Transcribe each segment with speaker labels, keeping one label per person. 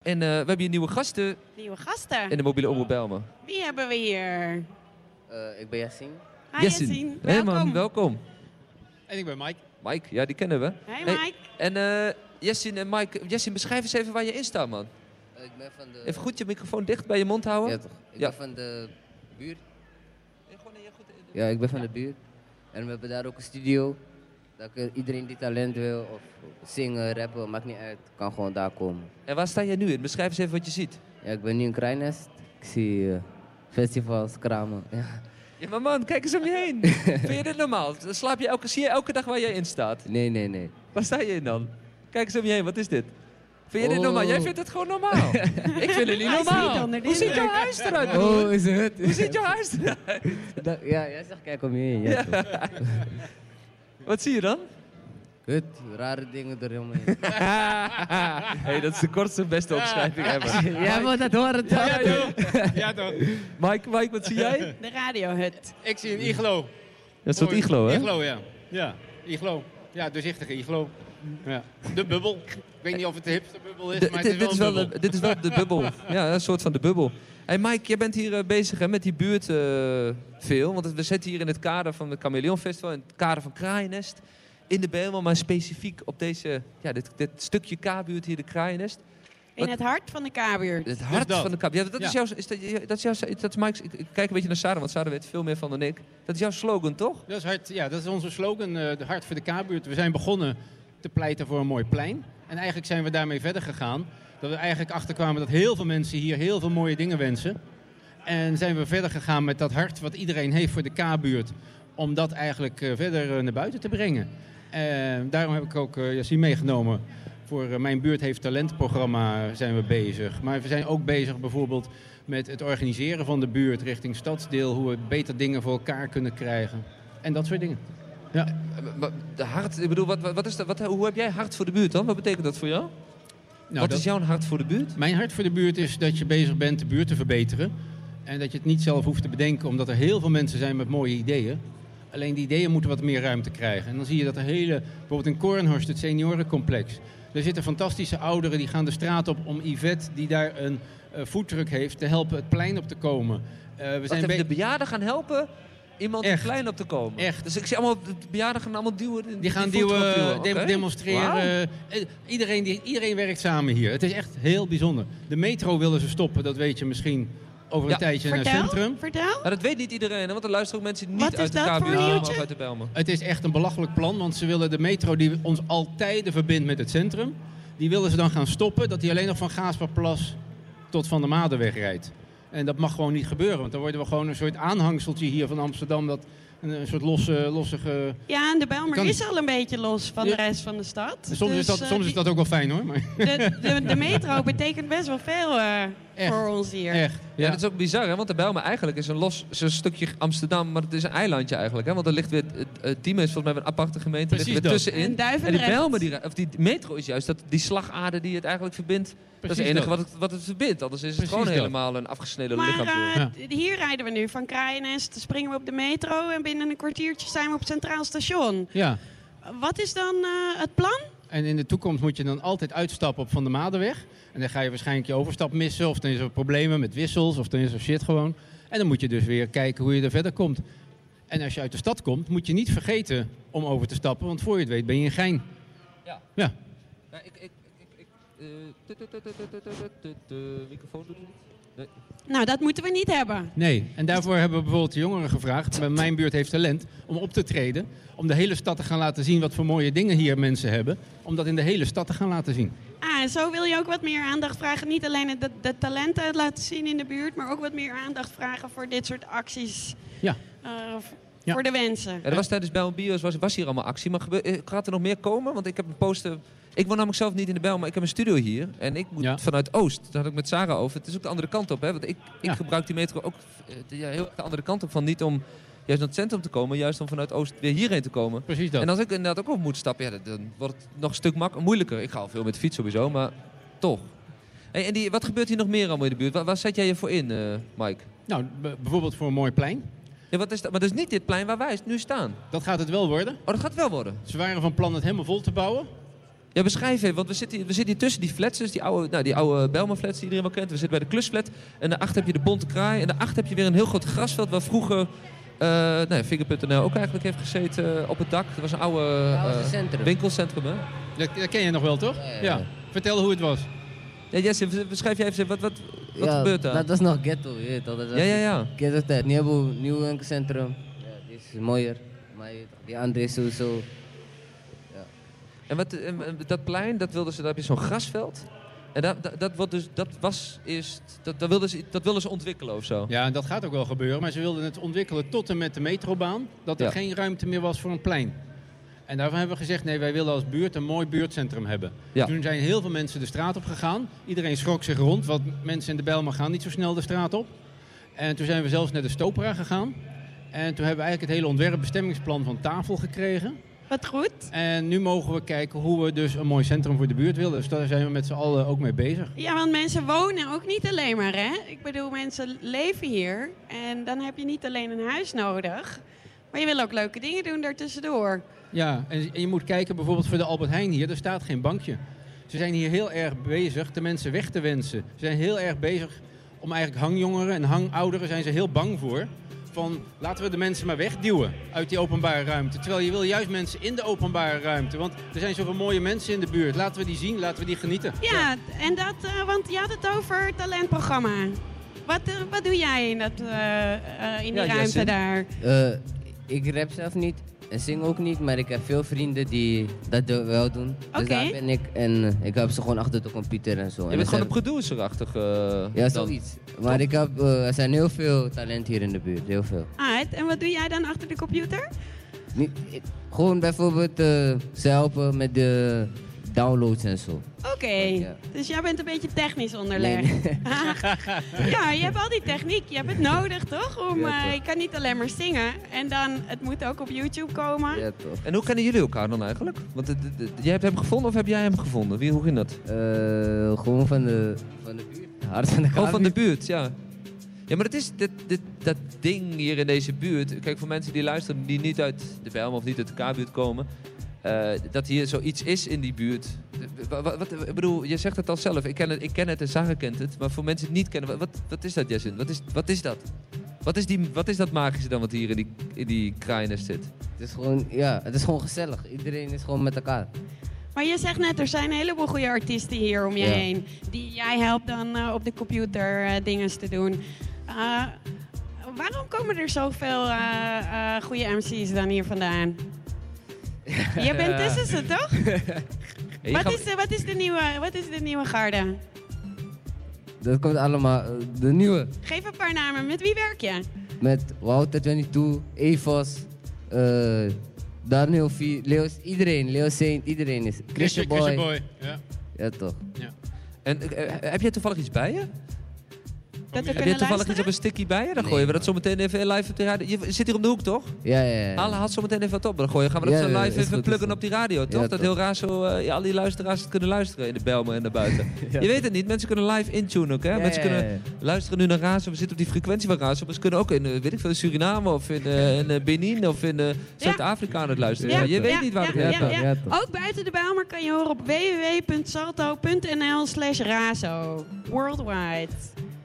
Speaker 1: En eh, we hebben hier nieuwe gasten
Speaker 2: Nieuwe gasten.
Speaker 1: in de mobiele omroep Bijlmer.
Speaker 2: Wie hebben we hier?
Speaker 3: Eh, ik ben Yassine.
Speaker 2: Hi
Speaker 1: Jessin.
Speaker 2: Yassine.
Speaker 1: Hey
Speaker 2: Welkom.
Speaker 1: man, welkom.
Speaker 4: En ik ben Mike.
Speaker 1: Mike, ja die kennen we.
Speaker 2: Hey
Speaker 1: Hey.
Speaker 2: Mike.
Speaker 1: En eh Jessin en Mike, Jessin beschrijf eens even waar je in staat man.
Speaker 3: Eh, ik ben van de...
Speaker 1: Even goed je microfoon dicht bij je mond houden.
Speaker 3: Ja, toch. Ik
Speaker 1: Ja.
Speaker 3: ben van de buurt. Ja, ik ben van de buurt. En we hebben daar ook een studio. Dat ik- iedereen die talent wil, of zingen, rappen, maakt niet uit, kan gewoon daar komen.
Speaker 1: En waar sta je nu in? Beschrijf eens even wat je ziet.
Speaker 3: Ja, ik ben nu in Krijnest. Ik zie eh, festivals, kramen. Ja.
Speaker 1: Ja maar man, kijk eens om je heen. Vind je dit normaal? Slaap je elke, zie je elke dag waar jij in staat?
Speaker 3: Nee, nee, nee.
Speaker 1: Waar sta je in dan? Kijk eens om je heen, wat is dit? Vind je dit
Speaker 3: Oh.
Speaker 1: normaal? Jij vindt het gewoon normaal. ik vind het niet
Speaker 2: Hij is niet
Speaker 1: normaal.
Speaker 2: onder de
Speaker 1: Hoe ziet
Speaker 2: indruk.
Speaker 1: jouw huis eruit? broer?
Speaker 3: Oh, is het?
Speaker 1: Hoe ziet jouw huis eruit?
Speaker 3: Dat- ja, jij zegt kijk om je heen. Ja, toch.
Speaker 1: Wat zie je dan?
Speaker 3: Hut, rare dingen er helemaal in.
Speaker 1: hey, dat is de kortste beste omschrijving ever. Oh,
Speaker 3: jij wil dat horen toch?
Speaker 4: Ja, joh. ja toch.
Speaker 1: Mike, Mike, wat zie jij?
Speaker 2: De radiohut.
Speaker 4: Ik zie een iglo.
Speaker 1: Dat is wat iglo, hè?
Speaker 4: Iglo, ja. Ja, iglo. Ja, doorzichtige iglo. Ja. De bubbel. Ik weet niet of het de hipste bubbel is,
Speaker 1: De-
Speaker 4: maar
Speaker 1: dit,
Speaker 4: het
Speaker 1: dit
Speaker 4: is
Speaker 1: is
Speaker 4: wel
Speaker 1: wel
Speaker 4: een bubbel.
Speaker 1: de, dit is wel de bubbel. Ja, een soort van de bubbel. Hey Mike, jij bent hier eh, bezig hè, met die buurt eh, veel. Want we zitten hier in het kader van het Chameleon Festival, in het kader van Kraaiennest. In de Bijlmer, maar specifiek op deze, ja, dit, dit stukje K-buurt hier, de Kraaiennest.
Speaker 2: In het hart van de K-buurt.
Speaker 1: Het hart
Speaker 4: dus dat.
Speaker 1: van de K-buurt. Ja, dat, is
Speaker 4: Ja.
Speaker 1: jouw, is dat, je- dat is jouw, dat is Mike's, ik, ik kijk een beetje naar Sarah, want Sarah weet veel meer van dan ik. Dat is jouw slogan, toch?
Speaker 4: Dat is, hard, ja, dat is onze slogan, eh, de hart voor de K-buurt. We zijn begonnen te pleiten voor een mooi plein. En eigenlijk zijn we daarmee verder gegaan. Dat we eigenlijk achterkwamen dat heel veel mensen hier heel veel mooie dingen wensen. En zijn we verder gegaan met dat hart wat iedereen heeft voor de K-buurt. Om dat eigenlijk eh, verder eh, naar buiten te brengen. En daarom heb ik ook eh Yassine meegenomen. Voor eh, Mijn Buurt Heeft Talent programma zijn we bezig. Maar we zijn ook bezig bijvoorbeeld met het organiseren van de buurt richting stadsdeel. Hoe we beter dingen voor elkaar kunnen krijgen. En dat soort dingen.
Speaker 1: Eh, maar De hart, ik bedoel, wat, wat wat is dat, wat, hoe heb jij hart voor de buurt dan? Wat betekent dat voor jou?
Speaker 4: Nou,
Speaker 1: wat
Speaker 4: dat-
Speaker 1: is jouw hart voor de buurt?
Speaker 4: Mijn hart voor de buurt is dat je bezig bent de buurt te verbeteren. En dat je het niet zelf hoeft te bedenken, omdat er heel veel mensen zijn met mooie ideeën. Alleen die ideeën moeten wat meer ruimte krijgen. En dan zie je dat er hele, bijvoorbeeld in Kornhorst, het seniorencomplex. Daar zitten fantastische ouderen die gaan de straat op om Yvette, die daar een eh foodtruck heeft, te helpen het plein op te komen. Eh, we
Speaker 1: Wat
Speaker 4: zijn
Speaker 1: hebben
Speaker 4: be-
Speaker 1: de bejaarden gaan helpen iemand
Speaker 4: Echt.
Speaker 1: klein op te komen?
Speaker 4: Echt.
Speaker 1: Dus ik zie allemaal, de bejaarden gaan allemaal duwen. in
Speaker 4: Die gaan
Speaker 1: voetbalduwen.
Speaker 4: duwen, dem-
Speaker 1: Oké. Wauw.
Speaker 4: demonstreren. Eh, Iedereen, die, iedereen werkt samen hier. Het is echt heel bijzonder. De metro willen ze stoppen, dat weet je misschien over een
Speaker 1: Ja.
Speaker 4: tijdje naar het
Speaker 2: Vertel,
Speaker 4: centrum.
Speaker 2: vertel.
Speaker 1: Maar dat weet niet iedereen, hè, want er luisteren ook mensen die
Speaker 2: Wat
Speaker 1: niet
Speaker 2: is
Speaker 1: uit de
Speaker 2: dat voor
Speaker 1: KBU komen
Speaker 2: nieuwtje?
Speaker 1: of uit de Bijlmer.
Speaker 4: Het is echt een belachelijk plan, want ze willen de metro die ons altijd verbindt met het centrum, die willen ze dan gaan stoppen dat die alleen nog van Gaasperplas tot Van der Madenweg rijdt. En dat mag gewoon niet gebeuren, want dan worden we gewoon een soort aanhangseltje hier van Amsterdam, dat een, een soort losse, lossige...
Speaker 2: Ja, en de Bijlmer
Speaker 4: Kan
Speaker 2: is al een beetje los van de
Speaker 4: Ja.
Speaker 2: rest van de stad.
Speaker 4: Soms, is,
Speaker 2: Dus,
Speaker 4: dat,
Speaker 2: eh,
Speaker 4: soms is dat ook wel fijn hoor, maar
Speaker 2: die- De, de, de metro betekent best wel veel eh,
Speaker 4: Echt.
Speaker 2: voor ons hier.
Speaker 4: echt.
Speaker 1: Ja, dat is ook bizar, hè? want de Bijlmer eigenlijk is een los is een stukje Amsterdam, maar het is een eilandje eigenlijk. Hè? Want er ligt weer, het, het Diemen is volgens mij weer een aparte gemeente, ligt
Speaker 4: Precies
Speaker 1: weer
Speaker 4: dat.
Speaker 2: En
Speaker 1: tussenin. En die
Speaker 2: Duivendrecht.
Speaker 1: Bijlmer, die, ra- of die metro is juist dat, die slagader die het eigenlijk verbindt. dat is het
Speaker 4: Precies
Speaker 1: enige
Speaker 4: dat.
Speaker 1: Wat, het, wat het verbindt, anders is het
Speaker 4: Precies
Speaker 1: gewoon
Speaker 4: dat.
Speaker 1: helemaal een afgesneden
Speaker 2: Maar
Speaker 1: lichaam.
Speaker 2: eh, d- hier rijden we nu van Kraaienest, dan springen we op de metro en binnen een kwartiertje zijn we op het Centraal Station.
Speaker 4: Ja.
Speaker 2: Wat is dan eh, het plan?
Speaker 4: En in de toekomst moet je dan altijd uitstappen op Van der Madenweg. En dan ga je waarschijnlijk je overstap missen. Of dan is er problemen met wissels. Of dan is er shit gewoon. En dan moet je dus weer kijken hoe je er verder komt. En als je uit de stad komt, moet je niet vergeten om over te stappen. Want voor je het weet ben je in Gein.
Speaker 1: Ja.
Speaker 4: Ja.
Speaker 1: Ja, ik, ik, ik, ik, eh, tut, tut, tut, tut, tut, tut, tut, De microfoon doet het niet.
Speaker 2: Nou, dat moeten we niet hebben.
Speaker 4: Nee. En daarvoor hebben we bijvoorbeeld de jongeren gevraagd. Bij Mijn Buurt Heeft Talent. Om op te treden. Om de hele stad te gaan laten zien wat voor mooie dingen hier mensen hebben. Om dat in de hele stad te gaan laten zien.
Speaker 2: Ah, en zo wil je ook wat meer aandacht vragen. Niet alleen de, de talenten laten zien in de buurt, maar ook wat meer aandacht vragen voor dit soort acties.
Speaker 4: Ja.
Speaker 2: Eh, v-
Speaker 4: Ja.
Speaker 2: Voor de wensen.
Speaker 1: Ja, er was tijdens Bijl Bios was, was hier allemaal actie. Maar gebe- eh, gaat er nog meer komen? Want ik heb een poster... Ik woon namelijk zelf niet in de Bijl, maar ik heb een studio hier. En ik moet
Speaker 4: Ja.
Speaker 1: vanuit Oost. Daar had ik met Sarah over. Het is ook de andere kant op. Hè? Want ik, ik
Speaker 4: Ja.
Speaker 1: gebruik die metro ook eh, de- ja, heel erg de andere kant op. Van niet om juist naar het centrum te komen. Juist om vanuit Oost weer hierheen te komen.
Speaker 4: Precies dat.
Speaker 1: En als ik inderdaad ook op moet stappen, ja, dan- dan wordt het nog een stuk mak moeilijker. Ik ga al veel met de fiets sowieso, maar toch. Hey, en die, wat gebeurt hier nog meer allemaal in de buurt? Waar, waar zet jij je voor in, eh, Mike?
Speaker 4: Nou, b- bijvoorbeeld voor een mooi plein.
Speaker 1: Ja, wat is dat? Maar dat is niet dit plein waar wij nu staan.
Speaker 4: Dat gaat het wel worden.
Speaker 1: Oh, dat gaat wel worden.
Speaker 4: Ze waren van plan het helemaal vol te bouwen.
Speaker 1: Ja, beschrijf even, want we zitten, hier- we zitten hier tussen die flats, dus die oude, nou, die oude Belma-flats die iedereen wel kent. We zitten bij de klusflat en daarachter heb je de Bonte Kraai en daarachter heb je weer een heel groot grasveld waar vroeger eh nou, ja, Finger.nl ook eigenlijk heeft gezeten eh, op het dak. Dat was een oude
Speaker 3: Dat was
Speaker 1: eh,
Speaker 3: het centrum.
Speaker 1: winkelcentrum, hè?
Speaker 4: Dat, dat ken je nog wel, toch?
Speaker 3: Ja, ja, ja.
Speaker 4: Vertel hoe het was.
Speaker 1: Ja, Jesse, v- beschrijf jij even, wat, wat, wat
Speaker 3: Ja, nou,
Speaker 1: gebeurt daar?
Speaker 3: Dat was nog ghetto, je weet toch? Dat was
Speaker 1: Ja, ja, ja.
Speaker 3: Ghetto tijd. Nu hebben we een nieuw winkelcentrum. Ja, die is mooier. Maar je weet toch, die andere is sowieso...
Speaker 1: En, wat, en- en dat plein, dat wilden ze, daar heb je zo'n grasveld. En dat, dat, dat, wordt dus, dat was eerst, dat, dat, wilden ze, dat wilden ze ontwikkelen of zo.
Speaker 4: Ja, en dat gaat ook wel gebeuren. Maar ze wilden het ontwikkelen tot en met de metrobaan. Dat er
Speaker 1: Ja.
Speaker 4: geen ruimte meer was voor een plein. En daarvan hebben we gezegd, nee, wij willen als buurt een mooi buurtcentrum hebben.
Speaker 1: Ja.
Speaker 4: Toen zijn heel veel mensen de straat op gegaan. Iedereen schrok zich rond, want mensen in de Bijlmer gaan niet zo snel de straat op. En toen zijn we zelfs naar de Stopera gegaan. En toen hebben we eigenlijk het hele ontwerpbestemmingsplan van tafel gekregen.
Speaker 2: Wat goed.
Speaker 4: En nu mogen we kijken hoe we dus een mooi centrum voor de buurt willen. Dus daar zijn we met z'n allen ook mee bezig.
Speaker 2: Ja, want mensen wonen ook niet alleen maar, hè? Ik bedoel, mensen leven hier. En dan heb je niet alleen een huis nodig. Maar je wil ook leuke dingen doen daartussendoor.
Speaker 4: Ja, en, en je moet kijken bijvoorbeeld voor de Albert Heijn hier, er staat geen bankje. Ze zijn hier heel erg bezig de mensen weg te wensen. Ze zijn heel erg bezig om eigenlijk hangjongeren en hangouderen zijn ze heel bang voor. Van laten we de mensen maar wegduwen uit die openbare ruimte. Terwijl je wil juist mensen in de openbare ruimte. Want er zijn zoveel mooie mensen in de buurt. Laten we die zien, laten we die genieten.
Speaker 2: Ja, en dat, eh, want je had het over het talentprogramma. Wat, eh, wat doe jij in, dat, eh, eh, in die
Speaker 1: Ja,
Speaker 2: ruimte
Speaker 1: Jesse.
Speaker 2: daar?
Speaker 3: eh, ik rap zelf niet en zing ook niet, maar ik heb veel vrienden die dat do- wel doen. Dus
Speaker 2: Oké.
Speaker 3: daar ben ik en eh, ik heb ze gewoon achter de computer en zo.
Speaker 1: Je
Speaker 3: En
Speaker 1: bent
Speaker 3: er
Speaker 1: gewoon een
Speaker 3: zijn-
Speaker 1: producerachtig. eh
Speaker 3: Ja,
Speaker 1: dan.
Speaker 3: zoiets. Maar ik heb, eh, er zijn heel veel talent hier in de buurt, heel veel.
Speaker 2: Uit. En wat doe jij dan achter de computer?
Speaker 3: Niet, ik- gewoon bijvoorbeeld eh, ze helpen met de downloads en zo.
Speaker 2: Oké,
Speaker 3: Ja.
Speaker 2: dus jij bent een beetje technisch
Speaker 3: Nee,
Speaker 2: onderlegd.
Speaker 3: nee.
Speaker 2: ja, je hebt al die techniek. Je hebt het nodig, toch? Om,
Speaker 3: Ja,
Speaker 2: eh,
Speaker 3: toch.
Speaker 2: je kan niet alleen maar zingen. En dan, het moet ook op YouTube komen.
Speaker 3: ja, toch.
Speaker 1: En hoe kennen jullie elkaar dan eigenlijk? Want eh, het- het- het- jij hebt hem gevonden of heb jij hem gevonden? Wie, hoe ging dat?
Speaker 3: Eh, gewoon van de, van de buurt. Hart van de
Speaker 1: Gewoon van de
Speaker 3: kamer.
Speaker 1: buurt, ja. Ja, maar dat is dit, dit, dat ding hier in deze buurt. Kijk, voor mensen die luisteren die niet uit de Bijlmer of niet uit de K-buurt komen. eh, dat hier zoiets is in die buurt. Wat, wat, wat- ik bedoel, je zegt het al zelf. Ik ken het, ik ken het en Sarah kent het. Maar voor mensen die het niet kennen, wat- wat, wat is dat, Jessin? Wat is, wat is dat? Wat is, die, wat is dat magische dan wat hier in die, in die kraainest zit?
Speaker 3: Het is gewoon, ja, het is gewoon gezellig. Iedereen is gewoon met elkaar.
Speaker 2: Maar je zegt net, er zijn een heleboel goede artiesten hier om je
Speaker 3: Ja.
Speaker 2: heen. Die jij helpt dan eh, op de computer eh dingen te doen. Eh, waarom komen er zoveel eh, eh, goede MC's dan hier vandaan? Je bent
Speaker 1: Ja.
Speaker 2: tussen ze, toch?
Speaker 1: Hey, je
Speaker 2: Wat
Speaker 1: gaat-
Speaker 2: is, de, wat, is de nieuwe, wat is de nieuwe garde?
Speaker 3: Dat komt allemaal, eh, de nieuwe.
Speaker 2: Geef een paar namen. Met wie werk je?
Speaker 3: Met Wouter 22, Evos, eh Daniel V, Leo, iedereen, Leo Saint, iedereen is. Christian Boy.
Speaker 4: Ja.
Speaker 3: Ja toch.
Speaker 1: en, eh, heb jij toevallig iets bij je?
Speaker 2: Dat we
Speaker 1: Heb je
Speaker 2: kunnen
Speaker 1: toevallig iets op
Speaker 2: luisteren?
Speaker 1: een stickie bij je? Dan
Speaker 3: Nee,
Speaker 1: gooien we dat zometeen even live op de radio. Je zit hier om de hoek, toch?
Speaker 3: Ja, ja, ja.
Speaker 1: Alle had zometeen even wat op. Dan gooien, gaan we dat
Speaker 3: Ja,
Speaker 1: zo
Speaker 3: ja,
Speaker 1: live
Speaker 3: is
Speaker 1: even
Speaker 3: goed, is
Speaker 1: pluggen
Speaker 3: goed.
Speaker 1: op die radio, toch?
Speaker 3: Ja,
Speaker 1: dat
Speaker 3: toch.
Speaker 1: heel raar zo eh, ja, al die luisteraars het kunnen luisteren in de Belmen en daarbuiten. Je weet het niet, mensen kunnen live intunen ook, hè?
Speaker 3: Ja,
Speaker 1: mensen
Speaker 3: ja, ja,
Speaker 1: kunnen luisteren nu naar Razo. We zitten op die frequentie van Razo. Maar ze kunnen ook in, eh, weet ik veel, Suriname of in, eh, in eh, Benin of in eh, Zuid-Afrika aan het luisteren.
Speaker 2: Ja,
Speaker 1: zijn. je weet
Speaker 2: ja,
Speaker 1: niet waar het
Speaker 2: ja,
Speaker 1: heen
Speaker 2: ja,
Speaker 1: gaat.
Speaker 2: ja.
Speaker 3: Ja, toch.
Speaker 2: Ook buiten de Bijlmer kan je horen op www.salto.nl slash razo. Worldwide.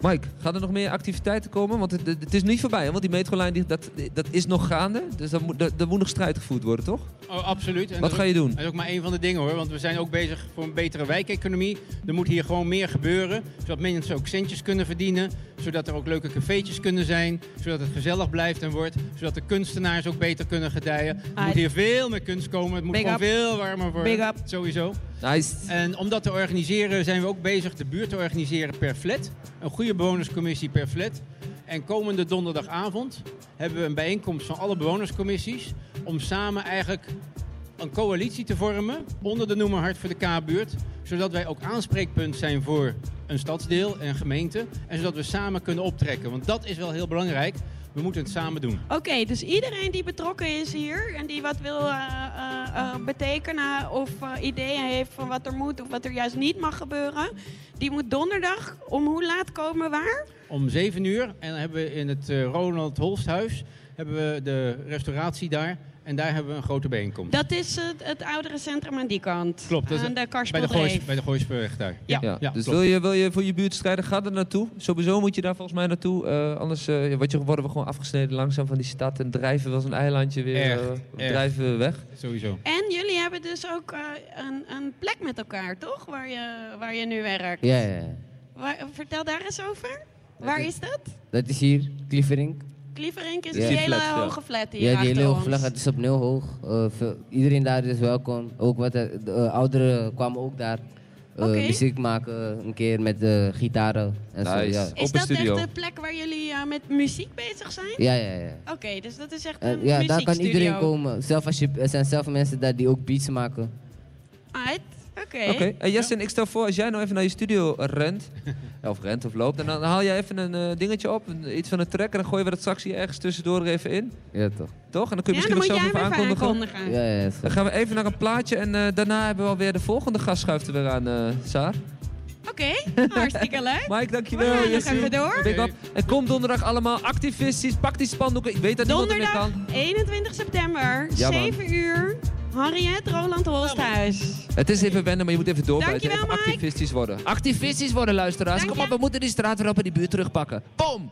Speaker 1: Mike, gaan er nog meer activiteiten komen? Want het, het- het is niet voorbij, hè? want die metrolijn die, dat, dat is nog gaande. Dus daar moet, daar, daar moet nog strijd gevoerd worden, toch?
Speaker 4: Oh, absoluut. En
Speaker 1: Wat
Speaker 4: dat is
Speaker 1: ga je
Speaker 4: ook-
Speaker 1: doen?
Speaker 4: Dat is ook maar een van de dingen hoor. Want we zijn ook bezig voor een betere wijkeconomie. Er moet hier gewoon meer gebeuren. Zodat mensen ook centjes kunnen verdienen. Zodat er ook leuke cafeetjes kunnen zijn. Zodat het gezellig blijft en wordt. Zodat de kunstenaars ook beter kunnen gedijen. Er
Speaker 2: Ah,
Speaker 4: moet hier veel meer kunst komen. Het moet
Speaker 2: Big
Speaker 4: gewoon
Speaker 2: up.
Speaker 4: veel warmer worden.
Speaker 2: Big up.
Speaker 4: Sowieso.
Speaker 1: Nice.
Speaker 4: En om dat te organiseren zijn we ook bezig de buurt te organiseren per flat. Een goede bewonerscommissie per flat. En komende donderdagavond hebben we een bijeenkomst van alle bewonerscommissies. Om samen eigenlijk een coalitie te vormen onder de noemer Hart voor de K-buurt. Zodat wij ook aanspreekpunt zijn voor een stadsdeel en gemeente. En zodat we samen kunnen optrekken. Want dat is wel heel belangrijk. We moeten het samen doen.
Speaker 2: Oké, dus iedereen die betrokken is hier en die wat wil eh, eh, eh, betekenen of eh, ideeën heeft van wat er moet of wat er juist niet mag gebeuren, die moet donderdag om hoe laat komen waar?
Speaker 4: om 7 uur. En dan hebben we in het eh, Ronald Holsthuis hebben we de restauratie daar. En daar hebben we een grote bijeenkomst.
Speaker 2: Dat is het, het oudere centrum aan die kant.
Speaker 4: Klopt, dat is
Speaker 2: aan de
Speaker 4: bij de, Goois,
Speaker 2: Karspeldreef.
Speaker 4: bij de Gooisberg daar.
Speaker 2: Ja.
Speaker 4: ja,
Speaker 1: dus
Speaker 4: klopt.
Speaker 1: wil je, wil je voor je buurt strijden, ga er naartoe. Sowieso moet je daar volgens mij naartoe. eh, anders eh, ja, wat je, worden we gewoon afgesneden langzaam van die stad. En drijven we als een eilandje weer
Speaker 4: Echt,
Speaker 1: eh,
Speaker 4: echt.
Speaker 1: drijven we weg.
Speaker 4: Sowieso.
Speaker 2: En jullie hebben dus ook eh, een, een plek met elkaar, toch? Waar je, waar je nu werkt.
Speaker 3: Ja, ja, ja.
Speaker 2: Waar- vertel daar eens over. Waar
Speaker 3: is-
Speaker 2: is dat?
Speaker 3: Dat is hier, Klievering.
Speaker 2: Klieverink is
Speaker 3: Ja.
Speaker 2: die
Speaker 3: Die
Speaker 2: hele
Speaker 5: flat, ja.
Speaker 2: hoge flat hier
Speaker 3: Ja, die
Speaker 2: achter
Speaker 3: hele hoge
Speaker 2: ons.
Speaker 3: vlag, het is opnieuw hoog. Eh, veel- iedereen daar is welkom. Ook wat de, de, eh, ouderen kwamen ook daar. eh,
Speaker 2: Oké.
Speaker 3: Muziek maken, een keer met eh, gitaren en
Speaker 1: Nice.
Speaker 3: zo. Ja.
Speaker 1: Op
Speaker 2: Is
Speaker 1: een
Speaker 2: dat
Speaker 1: studio.
Speaker 2: echt de plek waar jullie eh, met muziek bezig zijn?
Speaker 3: ja, ja, ja.
Speaker 2: Oké, dus dat is echt
Speaker 3: En
Speaker 2: een
Speaker 3: ja, daar
Speaker 2: muziekstudio.
Speaker 3: kan iedereen komen. Zelf als je, er zijn zelf mensen daar die ook beats maken.
Speaker 2: Alright, Oké.
Speaker 1: Oké, Eh, Jessen, ik stel voor als jij nou even naar je studio eh, rent. Ja, of rent of loopt. En dan haal jij even een eh, dingetje op. een- Iets van een track. En dan gooien we dat straks hier ergens tussendoor er even in.
Speaker 3: Ja, toch?
Speaker 1: Toch? En dan kun je
Speaker 2: Ja,
Speaker 1: misschien
Speaker 2: dan moet
Speaker 1: ook
Speaker 2: jij
Speaker 1: zelf
Speaker 2: hem
Speaker 1: even
Speaker 2: even
Speaker 1: aankondigen.
Speaker 2: aankondigen.
Speaker 3: Ja, ja, zo.
Speaker 1: Dan gaan we even naar een plaatje. En eh, daarna hebben we alweer de volgende gast schuift er weer aan, eh Saar.
Speaker 2: Oké, hartstikke leuk.
Speaker 1: Mike, dankjewel.
Speaker 2: We gaan nog
Speaker 1: Jesse.
Speaker 2: even door.
Speaker 1: Big up. En kom donderdag allemaal activistisch, pak die spandoeken. Ik weet dat niemand ermee
Speaker 2: Donderdag
Speaker 1: kan.
Speaker 2: 21 september,
Speaker 1: Ja, man.
Speaker 2: 7 uur, Harriet Roland Holsthuis.
Speaker 1: Het is even wennen, maar je moet even doorbijten.
Speaker 2: Dankjewel,
Speaker 1: Even
Speaker 2: Mike.
Speaker 1: activistisch worden. Activistisch worden, luisteraars.
Speaker 2: Dank
Speaker 1: Kom
Speaker 2: je.
Speaker 1: op, we moeten die straat weer op en die buurt terugpakken. Boom!